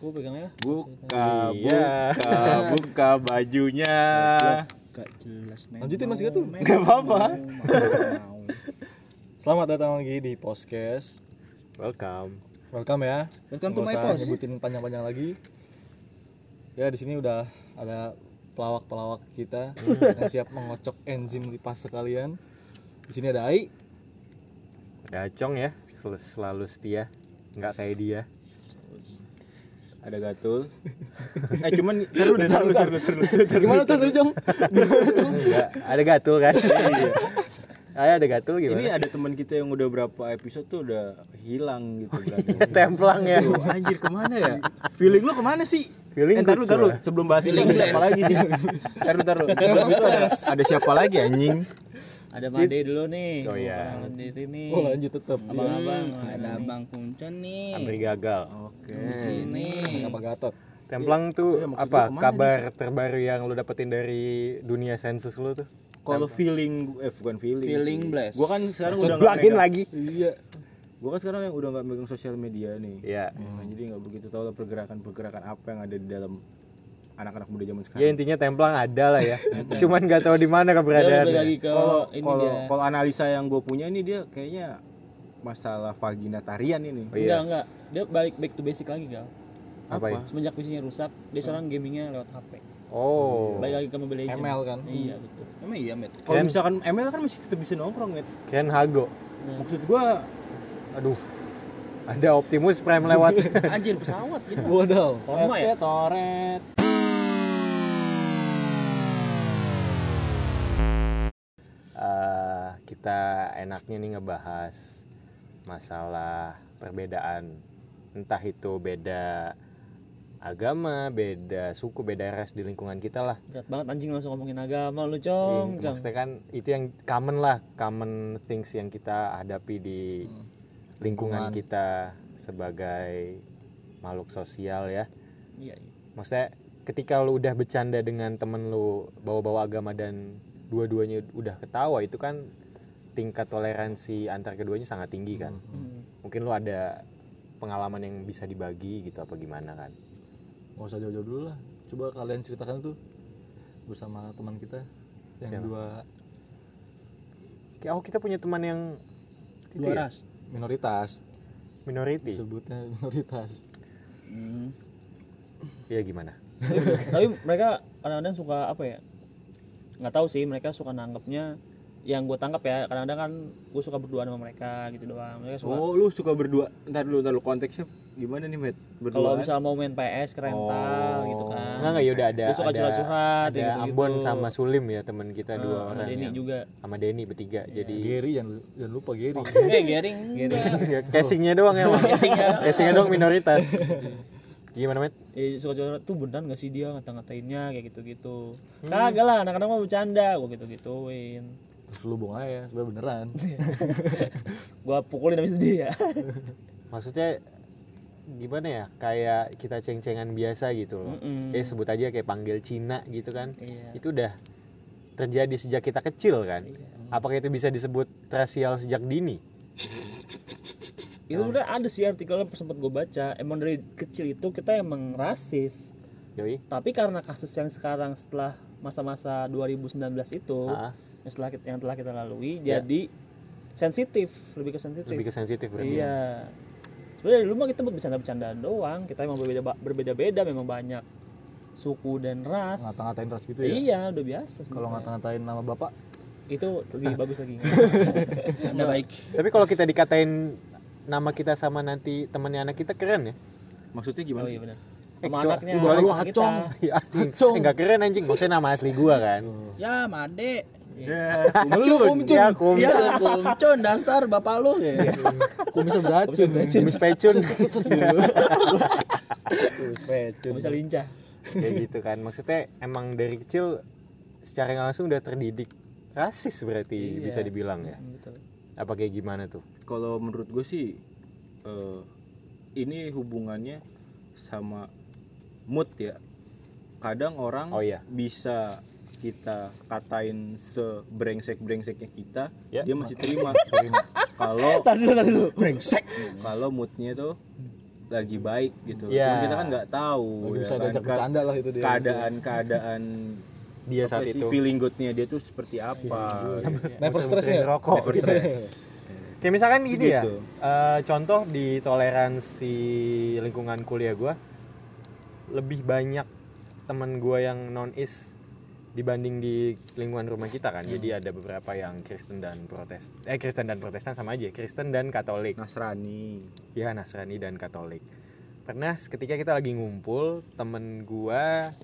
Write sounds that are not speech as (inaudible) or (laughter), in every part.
Gue ya. pegangnya lah. Buka, Iya. (laughs) buka, buka bajunya. Eh. Gak jelas men. Lanjutin, Mas, gitu. men. Gak apa-apa. Mau, mau, mau. Selamat datang lagi di podcast. Welcome. Welcome ya. Welcome to Nggak my usah post. Nyebutin panjang-panjang lagi. Ya di sini udah ada pelawak-pelawak kita yang siap mengocok enzim lipas sekalian. Di sini ada Ai. Ada Acong ya, sel- selalu setia. Nggak kayak dia. Ada Gatul. eh cuman taruh deh, taruh, taruh, taruh, taruh, taruh. Gimana tuh Jong? Nggak, ada Gatul (laughs) kan? Ayo ada Gatul gimana? Ini Iya, ada teman kita yang udah berapa episode tuh udah hilang gitu Ya, berarti. templang ya. Tuh, anjir kemana ya? Feeling lu kemana sih? Feeling eh, taruh, gua. taruh, sebelum bahas ini Feeling ada siapa less. lagi sih? taruh, (laughs) taruh. Sebelum itu ada, ada siapa lagi anjing? Ada Made dulu nih. Oh, iya. Abang Mandiri nih. Oh lanjut tetap. Abang-abang. Hmm, ada Abang Kuncen nih. Hampir gagal. Oh, Oke. Sini. Apa Gatot? Templang tuh Iya, maksud apa gua kemana kabar terbaru yang lu dapetin dari dunia sensus lu tuh? Kalau feeling eh bukan feeling. Feeling sih. bless. Gua kan sekarang udah nggak Blagin megang- lagi. Iya. Gua kan sekarang yang udah nggak megang sosial media nih. Iya. Nah, jadi nggak begitu tahu lah pergerakan-pergerakan apa yang ada di dalam anak-anak muda zaman Ya sekarang. intinya templang ada lah (laughs) ya. Cuman nggak tahu di mana Balik lagi keberadaannya. ke Kalau ini kalau dia. kalau analisa yang gue punya ini dia kayaknya masalah vagina tarian ini. Oh, Enggak, iya. enggak. Dia balik back to basic lagi, Gal. Apa ya? Semenjak PC-nya rusak, dia sekarang gamingnya lewat HP. Oh. Balik lagi ke Mobile Legends. ML kan? Iya, betul. Emang iya, Met. Kalau misalkan ML kan masih tetap bisa nongkrong, Met. Ken Hago. Maksud gua Aduh. Ada Optimus Prime (laughs) lewat. Anjir pesawat gitu. Waduh. Lama ya? Toret. Eh, kita enaknya nih ngebahas masalah perbedaan. Entah itu beda agama, beda suku, beda ras di lingkungan kita lah. Berat banget anjing langsung ngomongin agama lu, Cong. Iya, Cong. maksudnya kan itu yang common lah common things yang kita hadapi di lingkungan kita sebagai makhluk sosial ya Iya, iya. maksudnya ketika lu udah bercanda dengan temen lu bawa-bawa agama dan dua-duanya udah ketawa itu kan tingkat toleransi antar keduanya sangat tinggi kan Hmm. mungkin lu ada pengalaman yang bisa dibagi gitu apa gimana kan Gak usah jauh-jauh dulu lah. Coba kalian ceritakan tuh bersama teman kita yang Siapa? dua Oke, oh kita punya teman yang itu Iya. ya, ras. minoritas minority disebutnya minoritas Hmm. ya gimana (laughs) tapi mereka kadang-kadang suka apa ya nggak tahu sih mereka suka nanggapnya yang gue tangkap ya kadang-kadang kan gue suka berduaan sama mereka gitu doang mereka suka Oh, lu suka berdua. Ntar dulu, ntar dulu konteksnya gimana nih, Met? kalau Berdua. misalnya mau main PS ke rental Oh. gitu kan Enggak enggak ya udah ada Dia suka ada, curhat-curhat, ada ya gitu-gitu. Ambon sama Sulim ya teman kita dua Nah, orang. Denny yang- (laughs) juga Iya. Sama Denny bertiga. Jadi Gary jangan, jangan lupa Gary Eh, Gering. Iya. (laughs) casingnya doang ya. casingnya doang (laughs) minoritas. Gimana, Met? eh, suka curhat tuh beneran gak sih dia ngata-ngatainnya kayak gitu-gitu Hmm. kagak lah anak-anak mau bercanda (laughs) gue gitu-gituin terus lu buang aja sebenarnya beneran gue pukulin habis (laughs) dia ya Maksudnya gimana ya? Kayak kita ceng-cengan biasa gitu loh. Mm-mm. Kayak sebut aja kayak panggil Cina gitu kan. Iya. Itu udah terjadi sejak kita kecil kan. Iya. Apakah itu bisa disebut rasial sejak dini? itu udah ada sih artikelnya sempet gue baca emang dari kecil itu kita emang rasis Yoi. tapi karena kasus yang sekarang setelah masa-masa 2019 itu Ah. Ya. yang setelah kita, yang telah kita lalui jadi sensitif lebih ke sensitif Lebih ke sensitif berarti. ya. iya sebenarnya dari dulu mah kita buat bercanda-bercandaan doang kita emang berbeda berbeda-beda memang banyak suku dan ras ngata-ngatain ras gitu ya iya udah biasa sebenarnya. kalau ngata-ngatain nama bapak itu lebih bagus lagi Anda baik. Tapi kalau kita dikatain nama kita sama nanti temannya anak kita keren ya. Maksudnya gimana? oh iya benar Eh, sama kecuali- anaknya kecuali sama lu kita. Iya, hacong. (laughs) Ya, anjing. enggak keren anjing. Maksudnya nama asli gua kan. Ya, Made. lu Iya. kumcun Ya, kum. Ya, Kuncun dasar bapak lu. kumisnya beracun Kumis pecun. Kumis pecun Gak bisa lincah Kayak gitu kan. Maksudnya emang dari kecil secara nggak langsung udah terdidik rasis berarti bisa dibilang ya. betul Apa kayak gimana tuh? Kalau menurut gue sih eh, ini hubungannya sama mood ya. Kadang orang Oh, iya. bisa kita katain sebrengsek-brengseknya kita, Ya. dia (laughs) masih terima. Kalau tahan dulu tahan dulu kalau moodnya tuh lagi baik gitu. Iya. Cuman Kita kan nggak tahu. Lagi ya bisa kan? diajak Ka- bercanda lah itu dia keadaan-keadaan dia Ya, saat apa sih, itu feeling goodnya dia tuh seperti apa. Never stress ya? rokok Never gitu. stress. kayak misalkan gini ya Gitu. eh, contoh di toleransi lingkungan kuliah gua lebih banyak teman gua yang non is dibanding di lingkungan rumah kita kan jadi ada beberapa yang Kristen dan Protest eh Kristen dan Protestan sama aja Kristen dan Katolik Nasrani. ya Nasrani dan Katolik pernah ketika kita lagi ngumpul temen gua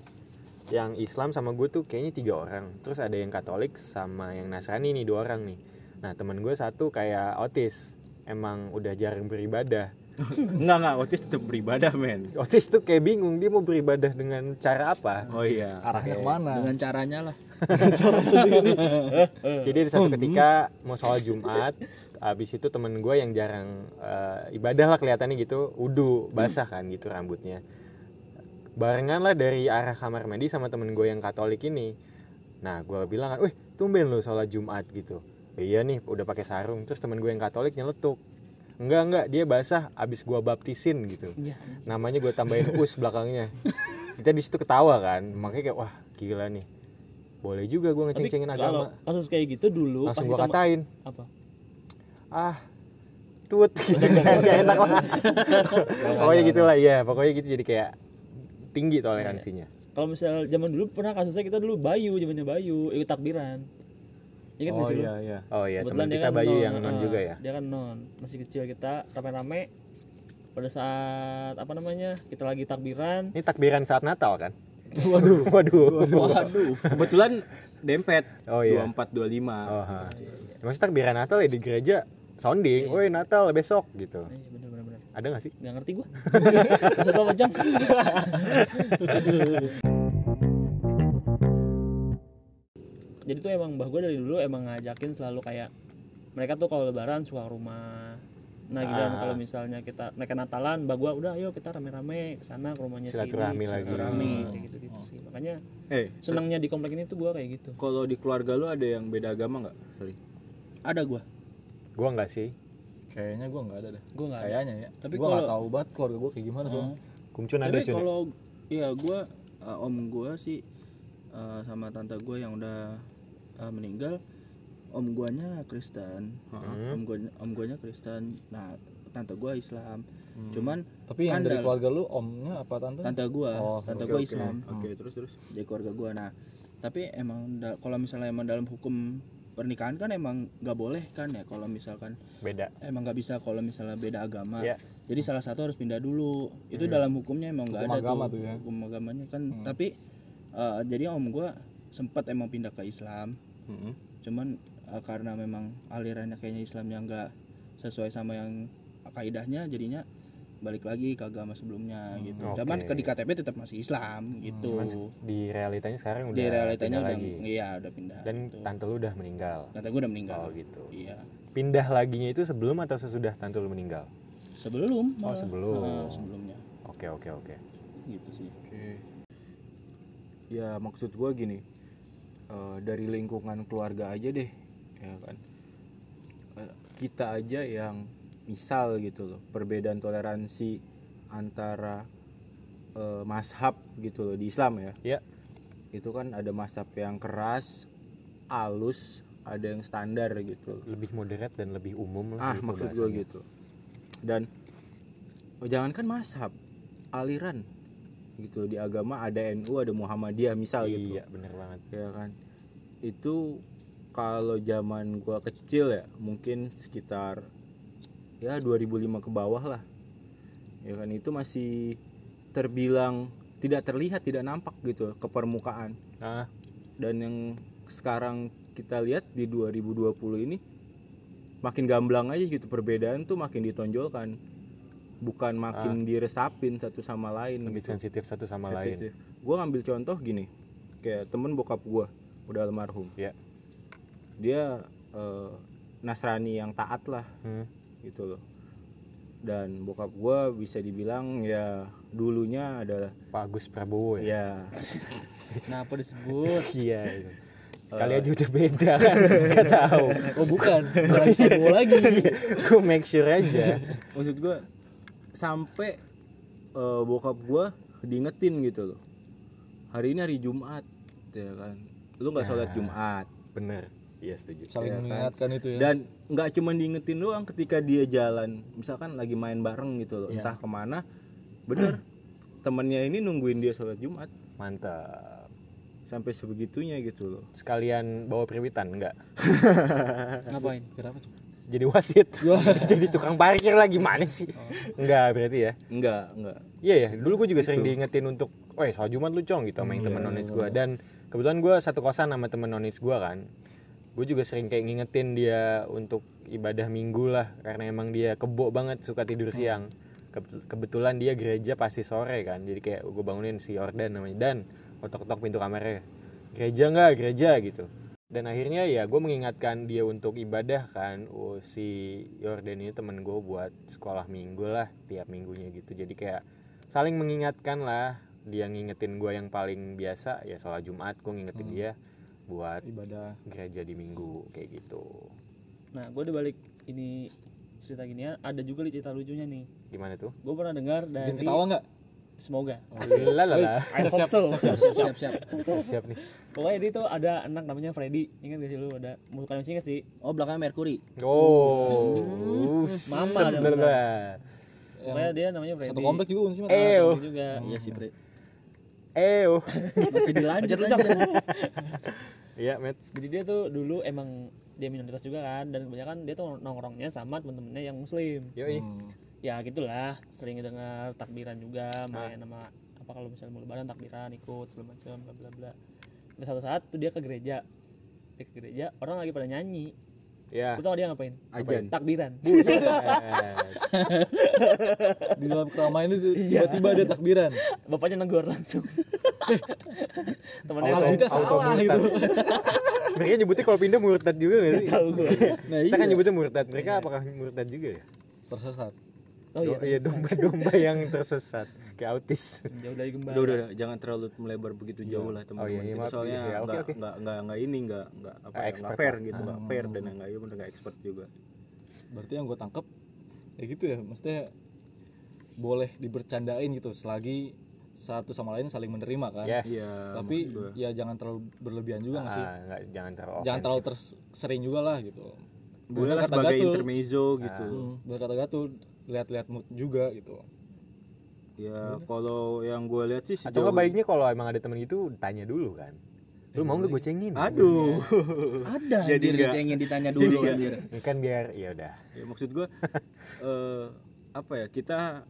yang Islam sama gue tuh kayaknya tiga orang terus ada yang Katolik sama yang Nasrani nih dua orang nih nah temen gue satu kayak otis emang udah jarang beribadah Enggak enggak, otis tetap beribadah, men. otis tuh kayak bingung dia mau beribadah dengan cara apa Oh iya. arahnya kemana dengan caranya lah jadi Oh, di satu hmm. ketika mau sholat Jumat abis itu temen gue yang jarang eh, ibadah lah kelihatannya gitu udu basah kan gitu rambutnya barengan lah dari arah kamar mandi sama temen gue yang katolik ini nah gue bilang kan wih tumben lo sholat Jumat gitu iya nih udah pakai sarung terus temen gue yang katolik nyeletuk enggak enggak dia basah abis gue baptisin gitu Iya. namanya gue tambahin us belakangnya kita di situ ketawa kan makanya kayak wah gila nih boleh juga gue Tapi ngeceng-cengin agama kalau kasus kayak gitu dulu langsung gue pas kita ma- katain apa? ah tut (laughs) gitu kan gak enak lah pokoknya gitulah iya pokoknya gitu jadi kayak tinggi toleransinya Kalau misal zaman dulu pernah kasusnya kita dulu Bayu, zamannya Bayu ikut takbiran. Ingat nggak Oh sih lu? iya iya. oh iya Kebetulan teman dia kita kan Bayu yang non eh, juga ya Dia kan non, masih kecil kita rame-rame pada saat apa namanya kita lagi takbiran ini takbiran saat Natal kan waduh waduh, waduh Kebetulan dempet Oh, iya. 2425. Oh, ha. maksudnya takbiran Natal ya di gereja sounding woi Natal besok gitu eh, bener bener bener ada gak sih nggak ngerti gua (laughs) Maksud apa jam (laughs) jadi tuh emang mbah gua dari dulu emang ngajakin selalu kayak mereka tuh kalau lebaran suka ke rumah nah gitu Ah. kalau misalnya kita mereka Natalan mbah gua udah ayo kita rame-rame ke sana ke rumahnya Silaturahmi lagi. Hmm. gitu gitu sih makanya Eh, senangnya di komplek ini tuh gua kayak gitu kalau di keluarga lu ada yang beda agama nggak? Sorry. ada gua gua nggak sih kayaknya gue nggak ada deh gua nggak ada. kayaknya ya Tapi tapi gue nggak kalau- tahu banget keluarga gue kayak gimana soalnya kumcun ada tapi cun ya? kalau iya gua eh, om gua sih eh, sama tante gua yang udah eh, meninggal om guanya Kristen om gua om guanya Kristen nah tante gua Islam Hmm. cuman tapi yang kan dari dalam- keluarga lu omnya apa tante tante gua Oh, tante Oke, gua oke. Hmm. Islam Oke, terus terus. dari keluarga gua nah tapi emang da- kalau misalnya emang dalam hukum pernikahan kan emang nggak boleh kan ya kalau misalkan beda emang nggak bisa kalau misalnya beda agama Iya. jadi salah satu harus pindah dulu itu dalam hukumnya emang nggak Hukum ada agama tuh, tuh ya. hukum agamanya kan Hmm. tapi eh, jadi om gua sempat emang pindah ke Islam Hmm. Mm-mm. cuman eh, karena memang alirannya kayaknya Islamnya nggak sesuai sama yang kaidahnya jadinya balik lagi ke agama sebelumnya gitu Hmm, oke. Hmm, cuman ke di KTP tetap masih Islam gitu cuman di realitanya sekarang udah di realitanya beda udah lagi iya udah pindah dan tante lu udah meninggal kata gue udah meninggal oh gitu iya pindah laginya itu sebelum atau sesudah tante lu meninggal sebelum Oh, malah. sebelum. Nah, sebelumnya oke oke oke gitu sih Ya maksud gua gini, eh, dari lingkungan keluarga aja deh, ya kan. Eh, kita aja yang misal gitu loh, perbedaan toleransi antara eh, mazhab gitu loh di Islam ya. ya Itu kan ada mazhab yang keras, alus, ada yang standar gitu. loh. lebih moderat dan lebih umum lah Ah gitu maksud bahasanya. gue gitu. Dan oh, jangankan mashab, aliran gitu di agama ada NU ada Muhammadiyah misal gitu. iya bener banget Ya kan. Itu kalau zaman gua kecil ya mungkin sekitar ya 2005 ke bawah lah. Ya kan itu masih terbilang tidak terlihat tidak nampak gitu ke permukaan ah dan yang sekarang kita lihat di 2020 ini makin gamblang aja gitu perbedaan tuh makin ditonjolkan bukan makin diresapin satu sama lain lebih gitu. sensitif satu Ah. sama lain Gue ngambil contoh gini kayak temen bokap gue udah almarhum ya dia eh, Nasrani yang taat lah Hmm. gitu loh dan bokap gue bisa dibilang ya dulunya adalah Pak Agus Prabowo ya ya nah apa disebut iya itu. kali aja udah beda kan nggak tahu oh bukan Bukan Prabowo lagi gue make sure aja maksud gue sampai eh, bokap gue diingetin gitu loh hari ini hari Jumat ya kan lu nggak Nah. sholat Jumat bener iya setuju saling Ya kan? mengingatkan itu ya dan nggak cuma diingetin doang ketika dia jalan misalkan lagi main bareng gitu loh Iya. entah kemana bener (clears throat) temennya ini nungguin dia sholat Jumat mantap sampai sebegitunya gitu loh sekalian bawa perwitan enggak ngapain kenapa Cuk? jadi wasit jadi tukang parkir lagi mana sih enggak berarti ya enggak enggak Iya ya, dulu gue juga sering diingetin untuk, "Woi, soal Jumat lu cong" gitu sama yang temen nonis gue dan kebetulan gue satu kosan sama temen nonis gue kan. Gue juga sering kayak ngingetin dia untuk ibadah minggu lah karena emang dia kebo banget suka tidur siang. Kebet- Kebetulan dia gereja pasti sore kan. Jadi kayak gue bangunin si Jordan namanya dan otok-otok pintu kamarnya. Gereja nggak gereja gitu. Dan akhirnya ya gue mengingatkan dia untuk ibadah kan Oh, Si Jordan ini temen gue buat sekolah minggu lah Tiap minggunya gitu Jadi kayak saling mengingatkan lah Dia ngingetin gue yang paling biasa Ya sholat Jumat gue ngingetin Hmm. dia Buat ibadah gereja di minggu Kayak gitu nah gue dibalik ini cerita ginian ada juga nih cerita lucunya nih Gimana tuh? gue pernah dengar bikin dari ketawa nggak semoga Oh, Lalala I hope so siap siap Siap-siap nih pokoknya dia tuh ada anak namanya Freddy ingat gak sih lu ada bukan masih ingat sih oh belakangnya Mercury Oh Hmm. Mama Mama dong. pokoknya dia namanya Freddy satu komplek juga bukan sih Mat? Nah, Eo komplek juga iya sih Pre Eo masih dilanjut lanjut Iya met jadi dia tuh dulu emang dia minoritas juga kan dan kebanyakan dia tuh nongkrongnya sama temen-temennya yang muslim Yoi ya gitulah sering dengar takbiran juga main sama apa kalau misalnya mau lebaran takbiran ikut segala macam bla bla bla Terus satu saat tuh dia ke gereja dia ke gereja orang lagi pada nyanyi Ya Eh, lu tau dia ngapain Ajan. takbiran di dalam keramaian itu Iya. tiba-tiba ada takbiran (laughs) bapaknya negor langsung temennya Auto- tuh, Tajudnya auto salah murtad. (laughs) mereka nyebutnya kalau pindah murtad juga gak sih? tahu gue Kita kan nyebutnya murtad. Mereka apakah murtad juga ya? tersesat oh iya Do- iya domba-domba yang tersesat kayak autis. jauh dari gembala udah udah udah, jangan terlalu melebar begitu jauh lah iya, teman-teman iya, Kita maaf, soalnya iya, iya, oke, nggak oke. nggak nggak nggak ini nggak nggak apa Nggak ya, expert Ah. nggak fair lah. gitu nggak fair dan nggak ya bener nggak expert juga berarti yang gue tangkep ya gitu ya maksudnya boleh dibercandain gitu selagi satu sama lain saling menerima kan Yes. Iya, tapi ya jangan terlalu berlebihan juga nggak sih Ah, nggak jangan terlalu jangan offensive. terlalu tersering juga lah gitu boleh lah Kata sebagai gatul. intermezzo gitu Ah. Hmm, berkata gatul lihat-lihat mood juga gitu ya kalau yang gue lihat sih Atau sejauh nggak baiknya kalau emang ada temen itu tanya dulu kan. Lu mau nggak gocengin? aduh Iya. (laughs) ada Jadi anjir nggak- yang ingin ditanya dulu Jadi nggak- anjir Ya kan biar ya udah. ya maksud (laughs) gue eh, apa ya kita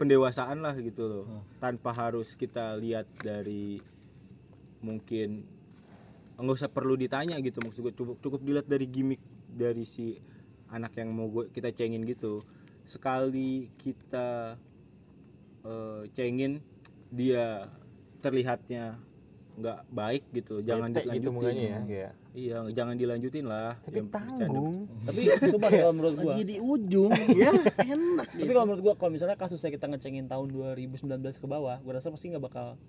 pendewasaan lah gitu loh Hmm. tanpa harus kita lihat dari mungkin nggak usah perlu ditanya gitu maksud gue cukup cukup dilihat dari gimmick dari si anak yang mau gue kita cengin gitu sekali kita eh, cengin dia terlihatnya nggak baik gitu jangan Bete gitu mukanya ya. dilanjutin Iya. iya jangan dilanjutin lah Tapi Yang Iya, bercanda. tanggung. tapi sumpah kalau menurut gua lagi di (laughs) ujung Iya. enak tapi kalau menurut gua kalau misalnya kasusnya kita ngecengin tahun 2019 ke bawah gua rasa pasti nggak bakal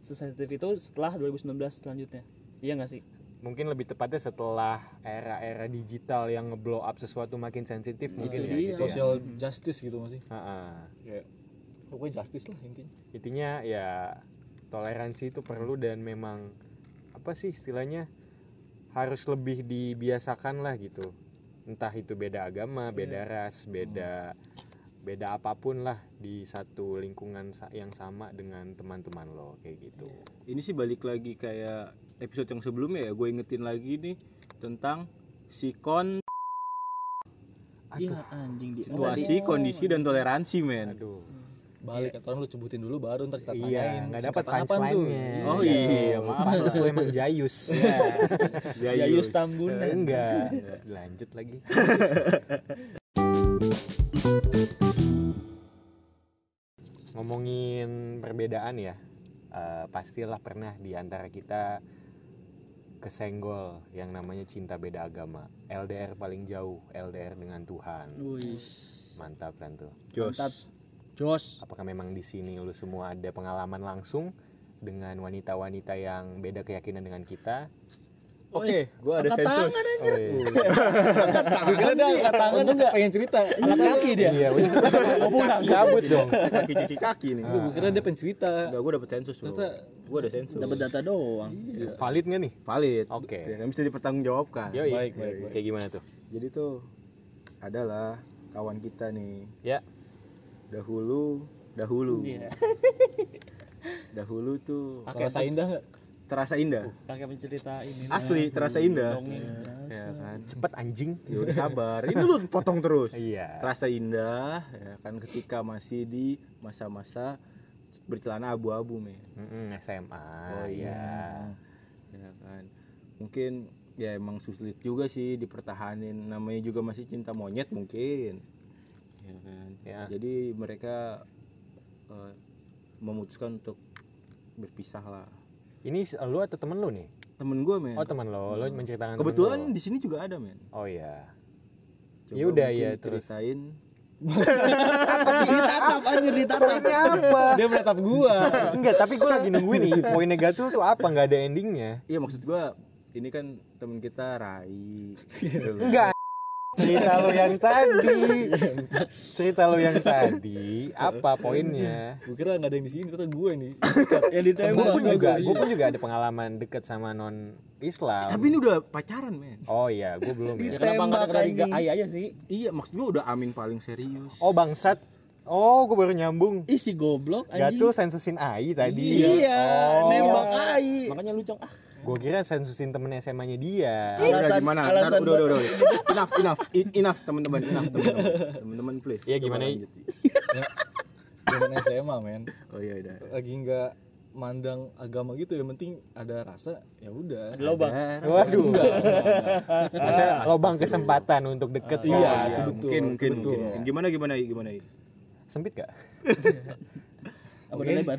sesensitif itu setelah 2019 selanjutnya iya nggak sih Mungkin lebih tepatnya setelah era-era digital yang ngeblow up sesuatu makin sensitif Nah, mungkin ya. dia. gitu ya. social justice gitu masih Ha-ha. pokoknya justice lah intinya intinya ya toleransi itu perlu dan memang apa sih istilahnya harus lebih dibiasakan lah gitu entah itu beda Iya. agama beda ras Hmm. beda beda apapun lah di satu lingkungan sa- yang sama dengan teman-teman lo kayak gitu ini sih balik lagi kayak episode yang sebelumnya ya gue ingetin lagi nih tentang si kon iya anjing di Iya, situasi kondisi dan toleransi men aduh balik atau lu cebutin dulu baru ntar kita tanyain iya nggak dapat singkatan apaan tuh? punchline-nya Oh iya, maaf pantas lo emang jayus ya Iya. ya Yus. Yayus Tambunan Eh, (laughs) enggak lanjut lagi ngomongin perbedaan ya eh, pastilah pernah di antara kita kesenggol yang namanya cinta beda agama LDR paling jauh LDR dengan Tuhan Wih, mantap kan tuh Jos mantap Jos apakah memang di sini lu semua ada pengalaman langsung dengan wanita-wanita yang beda keyakinan dengan kita Oh, iya. Oke, gua ada angkat sensus. tangan, Oh, iya. Gue kira dia angkat tangan tuh pengen cerita. anak kaki dia Iya, mau pulang cabut dong. kaki cuci kaki nih Gue kira dia pengen cerita. Nah. Enggak, gue dapet sensus bro Ternyata- Gue ada sensus dapat data doang Valid nggak nih? Valid Oke. Ya, Nggak bisa dipertanggungjawabkan Yoi. Baik, baik, baik. Kayak gimana tuh? Jadi tuh adalah kawan kita nih Ya. dahulu dahulu Iya. dahulu tuh Terasa indah nggak? terasa indah pakai pencerita ini asli terasa indah Uh. dongeng ya kan Cepet anjing. Ya udah sabar ini lu potong terus Iya. terasa indah ya kan ketika masih di masa-masa bercelana abu-abu men Mm-mm, SMA. Oh iya. Ya kan. Mungkin ya emang sulit juga sih dipertahanin namanya juga masih cinta monyet mungkin. Ya kan. Ya. Jadi mereka eh, memutuskan untuk berpisah lah. Ini s- lu atau temen lu nih? Temen gue men. Oh temen lo, lo menceritakan temen Kebetulan lo. di sini juga ada men. Oh iya. Coba Ya udah mungkin ya terus. ceritain. ditatap anjir ditatap Apa? Dia menatap gua. (laughs) Enggak, tapi gue lagi nungguin nih poin negatif tuh apa? Enggak ada endingnya. Iya maksud gue ini kan temen kita Rai. Enggak. Cerita lo yang tadi. Cerita lo yang tadi apa poinnya? Gue kira nggak ada yang di sini, ternyata gue nih. (laughs) ya Gue ditembak pun juga, Iya. gue pun juga ada pengalaman deket sama non Islam. Tapi ini udah pacaran men. Oh iya, gue belum ya. ya kenapa nggak Tembak dari anjing. ai aja sih Iya maksud gue udah amin paling serius. Oh bangsat. Oh, gue baru nyambung. ih si goblok anjing Gatul sensusin AI tadi. iya Oh. nembak ai makanya lu cong ah Gue kira sensusin temen SMA-nya dia. udah Alasan- gimana? Ntar, alasan udah, buat- udah, udah, Enough, enough, In- enough teman-teman, enough teman-teman, teman-teman please. Iya, Coba gimana, I? lanjut, I. Zaman SMA men. Oh iya udah. Lagi nggak mandang agama gitu yang penting ada rasa ya udah ada lobang Iya, Waduh. Iya. Masa lobang kesempatan untuk deket ya. Iya, iya, betul, mungkin, mungkin, betul. mungkin. Gimana, gimana, I? gimana? I? Sempit gak? apa udah lebar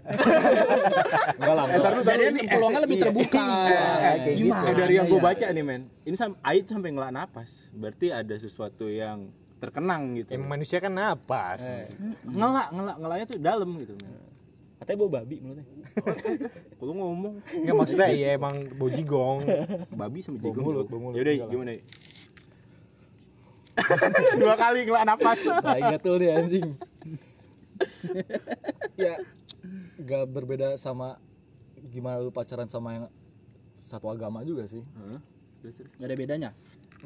enggak lah Ntar lu Jadian peluangnya lebih terbuka. kayak gitu. Gimana Eh, dari yang gue ya? baca nih men, ini sam Ait sampai ngelak napas. Berarti ada sesuatu yang terkenang gitu. Emang manusia kan Eh. napas. Ngelak, ngelak, ngelaknya tuh dalam gitu men. katanya bau babi mulutnya Kalau ngomong Enggak maksudnya ya emang bojigong. babi sama Bau jagung. mulut, bau bro. mulut. Yaudah, I, Iya lah. gimana? I? (laughs) Dua kali ngelak napas. Tai gatel dia anjing. ya gak berbeda sama gimana lu pacaran sama yang satu agama juga sih. Hah? Terus, terus. Gak ada bedanya.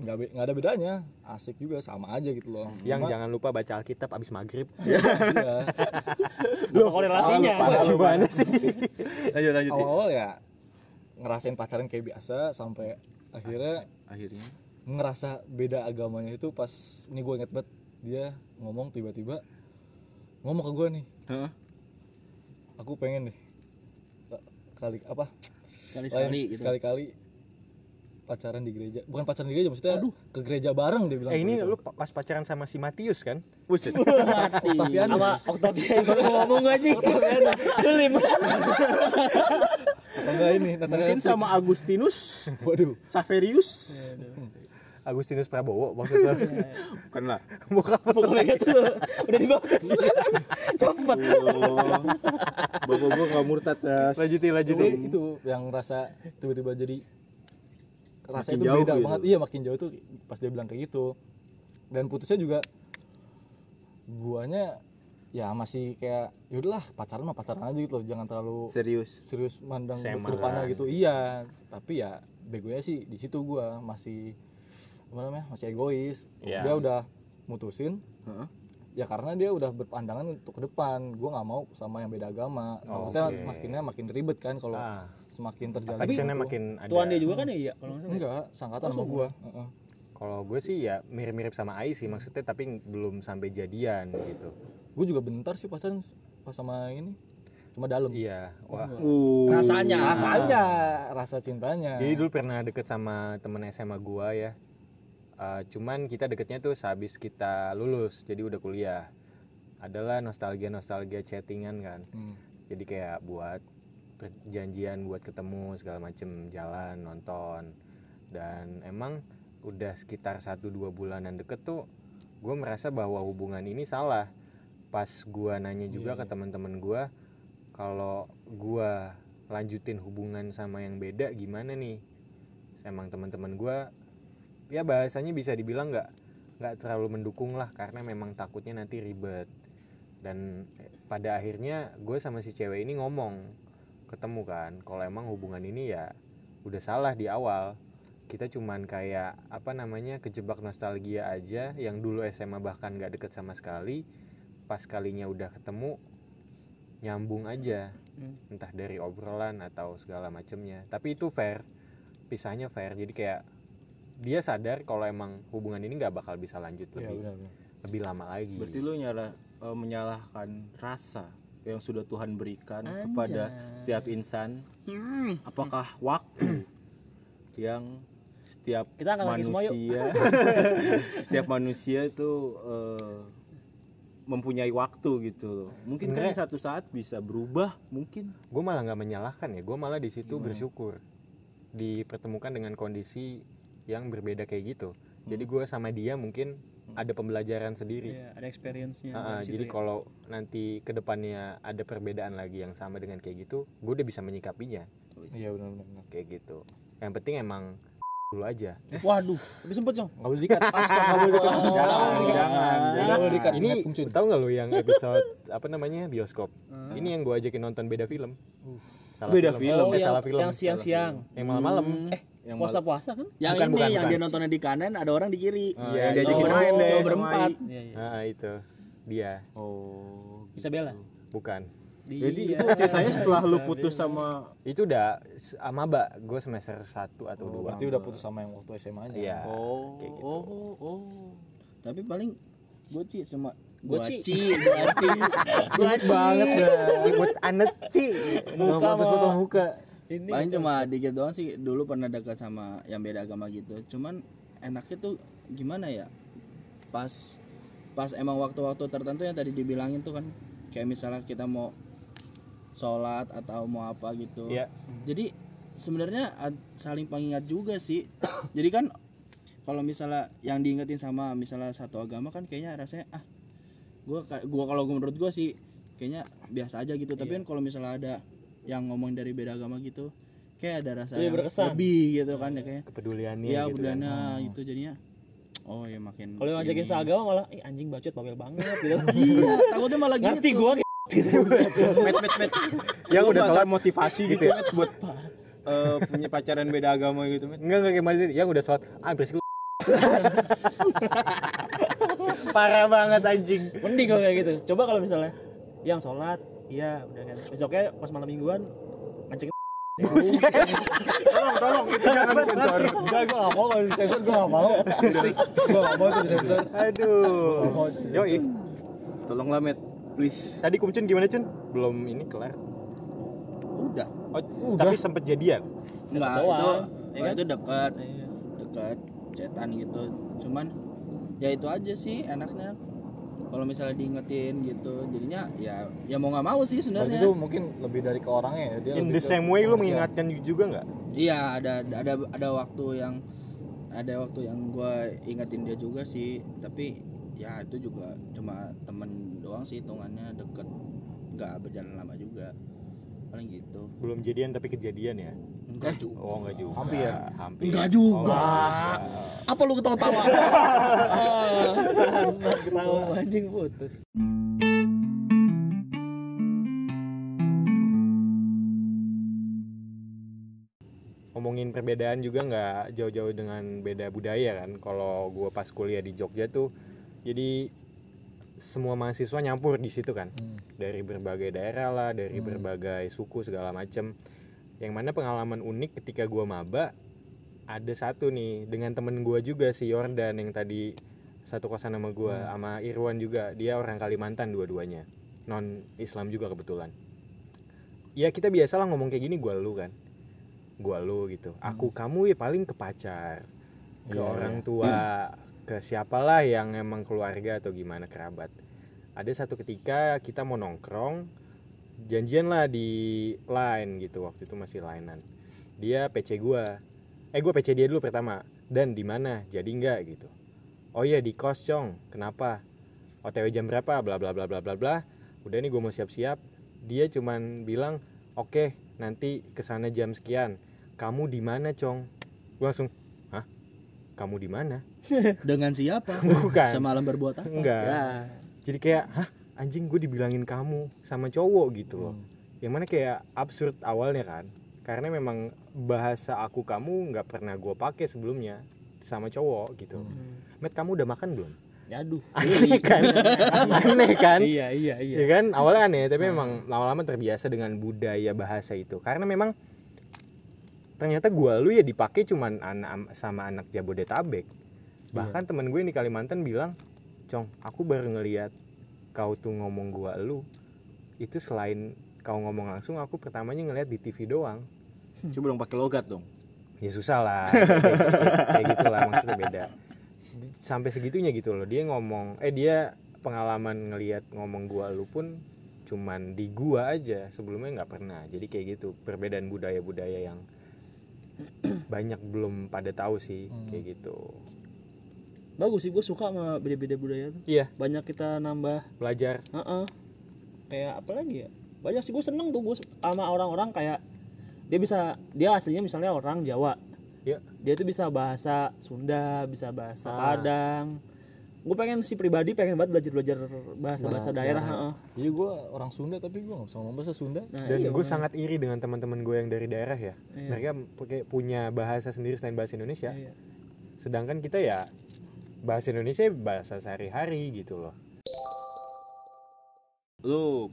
Gak, be- gak ada bedanya. Asik juga sama aja gitu loh. Hmm. Yang jangan lupa baca Alkitab abis maghrib. iya, Apa korelasinya Gimana sih? Lanjut, lanjut. I. awal-awal ya ngerasain pacaran kayak biasa sampai akhirnya Akhirnya ngerasa beda agamanya itu pas ini gue inget banget dia ngomong tiba-tiba ngomong ke gue nih Hah? aku pengen deh Ka- kali apa Sekali-sekali lain ya?" gitu. sekali-kali pacaran di gereja bukan pacaran di gereja maksudnya ke gereja bareng dia bilang gitu. Eh ini begitu. (laughs) lu pas pacaran sama si Matius kan? Buset. Mati. sama Octavian baru ngomong gak anjing sulim Atau enggak ini Nathaniel Mungkin Fix. sama Agustinus, waduh Saverius. Agustinus Prabowo maksudnya. Iya, (laughs) Bukan lah. Bukan bukan mereka tuh gitu. udah dibahas cepet (laughs) Bapak gua gak murtad ya. lanjutin jadi lanjutin. itu yang rasa tiba-tiba jadi rasa Makin itu jauh beda gitu. banget iya makin jauh tuh pas dia bilang kayak gitu dan putusnya juga guanya ya masih kayak yaudahlah pacaran mah pacaran aja gitu loh jangan terlalu Serius. serius mandang Semaran. depannya gitu iya tapi ya begonya sih di situ gua masih apa namanya masih egois Iya. dia udah mutusin Heeh. ya karena dia udah berpandangan untuk ke depan gua nggak mau sama yang beda agama Oh, takutnya oke. makinnya makin ribet kan kalau Ah. semakin terjalin Tapi sana gitu. makin ada. tuan dia juga kan ya iya kalau nggak salah. enggak sangkatan sama gua Heeh. Kalau gue sih ya mirip-mirip sama Ai sih maksudnya tapi ng- belum sampai jadian gitu. gua juga bentar sih pacaran pas sama ini cuma dalam Iya. Wah. Uh. Rasanya. rasanya rasa cintanya Jadi dulu pernah deket sama temen SMA gua ya. Eh, cuman kita deketnya tuh sehabis kita lulus, jadi udah kuliah. Adalah nostalgia nostalgia chattingan kan. Hmm. Jadi kayak buat perjanjian buat ketemu segala macem jalan nonton. Dan emang udah sekitar 1-2 bulanan deket tuh, gue merasa bahwa hubungan ini salah. Pas gua nanya juga ke teman-teman gua kalau gua lanjutin hubungan sama yang beda gimana nih emang teman-teman gue ya bahasanya bisa dibilang nggak nggak terlalu mendukung lah karena memang takutnya nanti ribet dan eh, pada akhirnya gue sama si cewek ini ngomong ketemu kan kalau emang hubungan ini ya udah salah di awal kita cuman kayak apa namanya kejebak nostalgia aja yang dulu SMA bahkan nggak deket sama sekali pas kalinya udah ketemu nyambung aja entah dari obrolan atau segala macemnya tapi itu fair pisahnya fair jadi kayak dia sadar kalau emang hubungan ini nggak bakal bisa lanjut lebih lebih lama lagi Berarti lu nyala eh, menyalahkan rasa yang sudah Tuhan berikan kepada setiap insan. Apakah waktu yang setiap Kita angkat lagi semua (laughs) yuk. manusia setiap manusia itu eh, mempunyai waktu gitu loh. Mungkin kan Sebenarnya- satu saat bisa berubah mungkin. gue malah nggak menyalahkan ya gue malah di situ bersyukur dipertemukan dengan kondisi yang berbeda kayak gitu jadi gue sama dia mungkin ada pembelajaran sendiri Iya, ada experience-nya. Ah, ah, dari situ jadi ya. kalau nanti kedepannya ada perbedaan lagi yang sama dengan kayak gitu gue udah bisa menyikapinya iya benar benar kayak gitu yang penting emang (laughs) dulu aja Waduh, lebih sempet Song. nggak boleh dikat nggak boleh dikat jangan. nggak boleh dikat Oh, ini tahu nggak lu yang episode apa namanya bioskop ini yang gue ajakin nonton beda film salah Beda film? Eh, yang, salah film yang siang-siang. yang malam-malam eh Yang Puasa-puasa kan? Yang Bukan, ini bukan, yang bukan. dia nontonnya di kanan, ada orang di Iya, kiri. Cowok diajakin ber- main deh cowok sama berempat. Iya, iya. ah, ah, itu dia Oh. Bisa bela. bukan Jadi Dia- (laughs) itu ceritanya setelah lu putus sama itu udah s- amaba gue semester 1 atau dua berarti udah putus sama yang waktu SMA aja Iya. (laughs) Oh, kayak gitu. oh, oh. Tapi paling gue sih sama gue Goci. (laughs) sih gue sih gue banget buat anet ci Muka foto mau muka. ini paling cuma dikit doang sih dulu pernah dekat sama yang beda agama gitu cuman enaknya tuh gimana ya pas pas emang waktu-waktu tertentu yang tadi dibilangin tuh kan kayak misalnya kita mau sholat atau mau apa gitu Iya. jadi sebenarnya ad- saling pengingat juga sih jadi kan kalau misalnya yang diingetin sama misalnya satu agama kan kayaknya rasanya ah gua ka- gua kalau menurut gua sih kayaknya biasa aja gitu Iya. tapi kan kalau misalnya ada yang ngomongin dari beda agama gitu kayak ada Lebih rasa yang Iya, berkesan. iya, lebih gitu kan ya kayaknya kepeduliannya ya gitu kan. budana gitu jadinya oh ya makin Hmm. Kalau yang ngajakin ini. seagama malah "Ih, anjing bacot bawel banget gitu. iya takutnya malah gitu Ngerti gua kayak Met met met. yang Lu udah nggak sholat termotivasi gitu ya Met, buat eh, punya pacaran beda agama gitu met. enggak enggak kayak Mas Didi. yang udah sholat ah berisik lu. parah banget anjing mending kalau kayak gitu. Coba kalau misalnya yang sholat, iya udah kan. Besoknya pas malam mingguan mancing Tolong tolong itu jangan disensor. enggak gue nggak mau kalau disensor gue nggak mau gue nggak mau tuh disensor aduh yoi Tolonglah met, please. tadi kumcun gimana cun belum ini kelar udah oh, tapi sempet jadian enggak doang, itu ya kalau kan? itu dekat Iya. dekat cetan gitu cuman ya itu aja sih enaknya kalau misalnya diingetin gitu jadinya ya ya mau nggak mau sih berarti itu sebenarnya mungkin lebih dari ke orangnya ya dia in lebih the ke- same way lu Iya. mengingatkan juga nggak iya ada ada ada- ada waktu yang ada waktu yang gua ingetin dia juga sih tapi ya itu juga cuma temen doang sih hitungannya deket nggak berjalan lama juga paling gitu belum jadian tapi kejadian ya enggak juga oh enggak juga Hampir ya? hampir enggak Oh, juga enggak. apa lu ketawa-tawa (laughs) ketawa Oh, anjing putus. ngomongin perbedaan juga nggak jauh-jauh dengan beda budaya kan kalau gue pas kuliah di Jogja tuh jadi semua mahasiswa nyampur di situ kan dari berbagai daerah lah dari berbagai suku segala macem yang mana pengalaman unik ketika gue maba ada satu nih dengan temen gue juga si Yordan yang tadi satu kosan sama gue sama Irwan juga dia orang Kalimantan dua-duanya non Islam juga kebetulan ya kita biasalah ngomong kayak gini gue lu kan gua lu gitu aku kamu ya paling ke pacar ke orang tua ke siapalah yang emang keluarga atau gimana kerabat ada satu ketika kita mau nongkrong janjian lah di line gitu waktu itu masih linean dia PC gua eh gua PC dia dulu pertama dan di mana jadi nggak gitu oh iya di kos cong kenapa OTW jam berapa bla bla bla bla bla bla udah nih gue mau siap-siap dia cuman bilang oke nanti kesana jam sekian kamu di mana cong gue langsung hah kamu di mana dengan siapa Bukan. semalam berbuat apa enggak jadi kayak hah anjing gue dibilangin kamu sama cowok gitu loh yang mana kayak absurd awalnya kan karena memang bahasa aku kamu nggak pernah gue pakai sebelumnya sama cowok gitu met kamu udah makan belum Aduh. (laughs) aneh kan aneh kan Iya, iya, iya. ya kan awalnya aneh tapi memang lama-lama terbiasa dengan budaya bahasa itu karena memang ternyata gua lu ya dipakai cuman anak am- sama anak Jabodetabek bahkan temen gue yang di Kalimantan bilang cong aku baru ngeliat kau tuh ngomong gua lu itu selain kau ngomong langsung aku pertamanya ngeliat di TV doang Coba dong pakai logat dong. ya susah lah kayak gitu, kayak gitu lah maksudnya beda sampai segitunya gitu loh dia ngomong eh dia pengalaman ngelihat ngomong gua lu pun cuman di gua aja sebelumnya nggak pernah jadi kayak gitu perbedaan budaya budaya yang banyak belum pada tahu sih Hmm. kayak gitu Bagus sih gue suka sama beda-beda budaya tuh. iya Banyak kita nambah. belajar Heeh. Kayak apa lagi ya? Banyak sih gue seneng tuh gue sama orang-orang kayak dia bisa dia aslinya misalnya orang Jawa. Iya. Dia tuh bisa bahasa Sunda, bisa bahasa Ah. Padang. Gue pengen si pribadi pengen banget belajar belajar bahasa bahasa daerah. heeh. Jadi gue Iya, orang Sunda tapi gue nggak bisa ngomong bahasa Sunda. Nah, dan gue iya, makanya. sangat iri dengan teman-teman gue yang dari daerah ya Iya. mereka pakai- punya bahasa sendiri selain bahasa Indonesia Iya. sedangkan kita ya bahasa Indonesia bahasa sehari-hari gitu loh Lu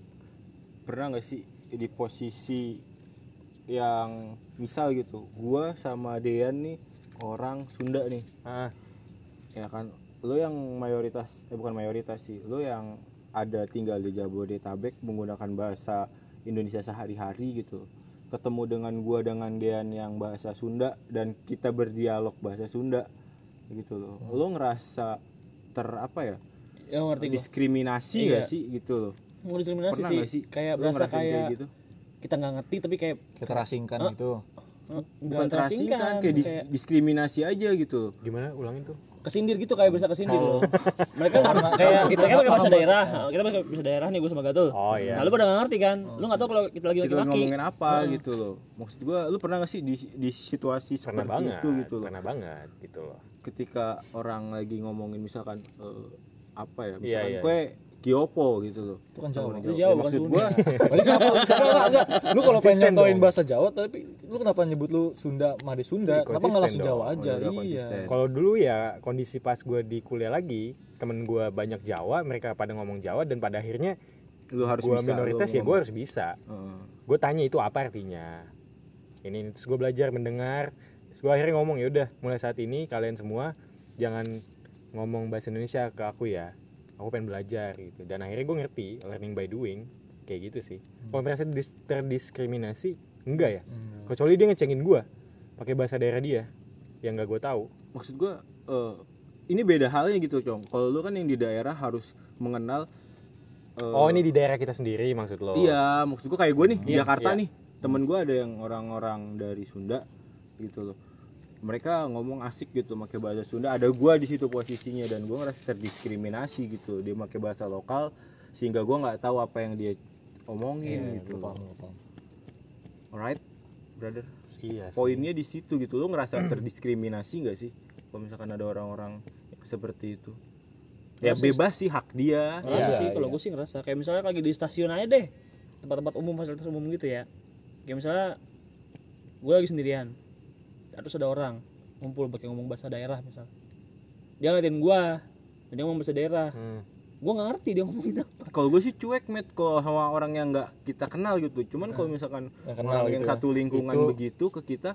pernah nggak sih di posisi yang misal gitu, gua sama Dean nih orang Sunda nih, ah ya kan? Lu yang mayoritas, eh bukan mayoritas sih, lu yang ada tinggal di Jabodetabek menggunakan bahasa Indonesia sehari-hari gitu. Ketemu dengan gua dengan Dean yang bahasa Sunda dan kita berdialog bahasa Sunda gitu loh. Lu ngerasa ter apa ya? Ya ngerti gue. diskriminasi Iya. nggak sih gitu loh Mau diskriminasi pernah sih. nggak sih Kayak lu berasa ngerasain kayak, gitu kita nggak ngerti tapi kayak Kayak terasingkan Hah? gitu. eh, nggak bukan terasingkan terasingkan kayak, dis- kayak diskriminasi aja gitu loh gimana ulangin tuh kesindir gitu kayak bisa kesindir Oh. loh. (laughs) Mereka nggak- kayak kita kan pakai bahasa daerah. Kita pakai bahasa daerah nih gue sama Gatul. Oh, iya. Nah, lu pada nggak ngerti kan? Lu nggak tahu kalau kita lagi kita maki-maki. ngomongin apa gitu loh maksud gua lu pernah nggak sih di, di situasi pernah seperti banget itu gitu loh pernah banget gitu loh ketika orang lagi ngomongin misalkan eh, apa ya Iya, misalkan iya. kue kiopo gitu loh Itu kan Jawa. Itu Jawa, Ya, maksud bukan gua (laughs) Berarti kenapa lu- enggak, enggak. Lu kalau pengen Konsisten nyontoin dong. bahasa Jawa tapi lu kenapa nyebut lu Sunda, Made Sunda? Iya, Kenapa nggak langsung konsisten Jawa dong. aja? Udah, udah Iya. konsisten. kalau dulu ya kondisi pas gue di kuliah lagi temen gue banyak Jawa mereka pada ngomong Jawa dan pada akhirnya lu harus gue bisa minoritas lu ya gue harus bisa ngomong. gue tanya itu apa artinya ini ini. terus gue belajar mendengar terus gue akhirnya ngomong ya udah mulai saat ini kalian semua jangan ngomong bahasa Indonesia ke aku ya aku pengen belajar gitu dan akhirnya gue ngerti learning by doing kayak gitu sih Hmm. kalau merasa dis- terdiskriminasi enggak ya kecuali dia ngecengin gue pakai bahasa daerah dia yang gak gue tahu Eh, maksud gua eh, ini beda halnya gitu cong kalau lu kan yang di daerah harus mengenal eh, oh ini di daerah kita sendiri maksud lo Iya, maksud gue kayak gue nih di Iya, Jakarta iya. nih. Temen gue ada yang orang-orang dari Sunda gitu loh. Mereka ngomong asik gitu pakai bahasa Sunda. Ada gue di situ posisinya dan gue ngerasa terdiskriminasi gitu. Dia pakai bahasa lokal sehingga gue nggak tahu apa yang dia omongin gitu. Paham, Iya, gua paham. Alright, brother. iya sih. Poinnya di situ gitu. Lo ngerasa Hmm. terdiskriminasi nggak sih? Kalau misalkan ada orang-orang seperti itu. Ya bebas sih hak dia. Ngerasa Iya, sih kalau iya. gue sih ngerasa kayak misalnya lagi di stasiun aja deh. Tempat-tempat umum, fasilitas umum gitu ya. Kayak misalnya gue lagi sendirian. Terus ada orang ngumpul pakai ngomong bahasa daerah misalnya. Dia ngeliatin gue, dia ngomong bahasa daerah. Hmm. Gue nggak ngerti dia ngomongin apa. kalau gue sih cuek met kalau sama orang yang nggak kita kenal gitu cuman kalau misalkan Yang Eh, kenal orang gitu yang ya. satu lingkungan Itu- begitu ke kita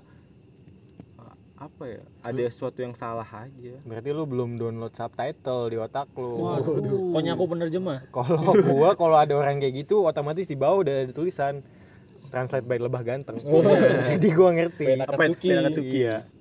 a- apa ya ada sesuatu yang salah aja berarti lu belum download subtitle di otak lu Pokoknya aku penerjemah. Kalau gua kalau ada orang kayak gitu otomatis di bawah udah ada tulisan translate by lebah ganteng. (laughs) Jadi gua ngerti. ya, Pena Katsuki. Iya.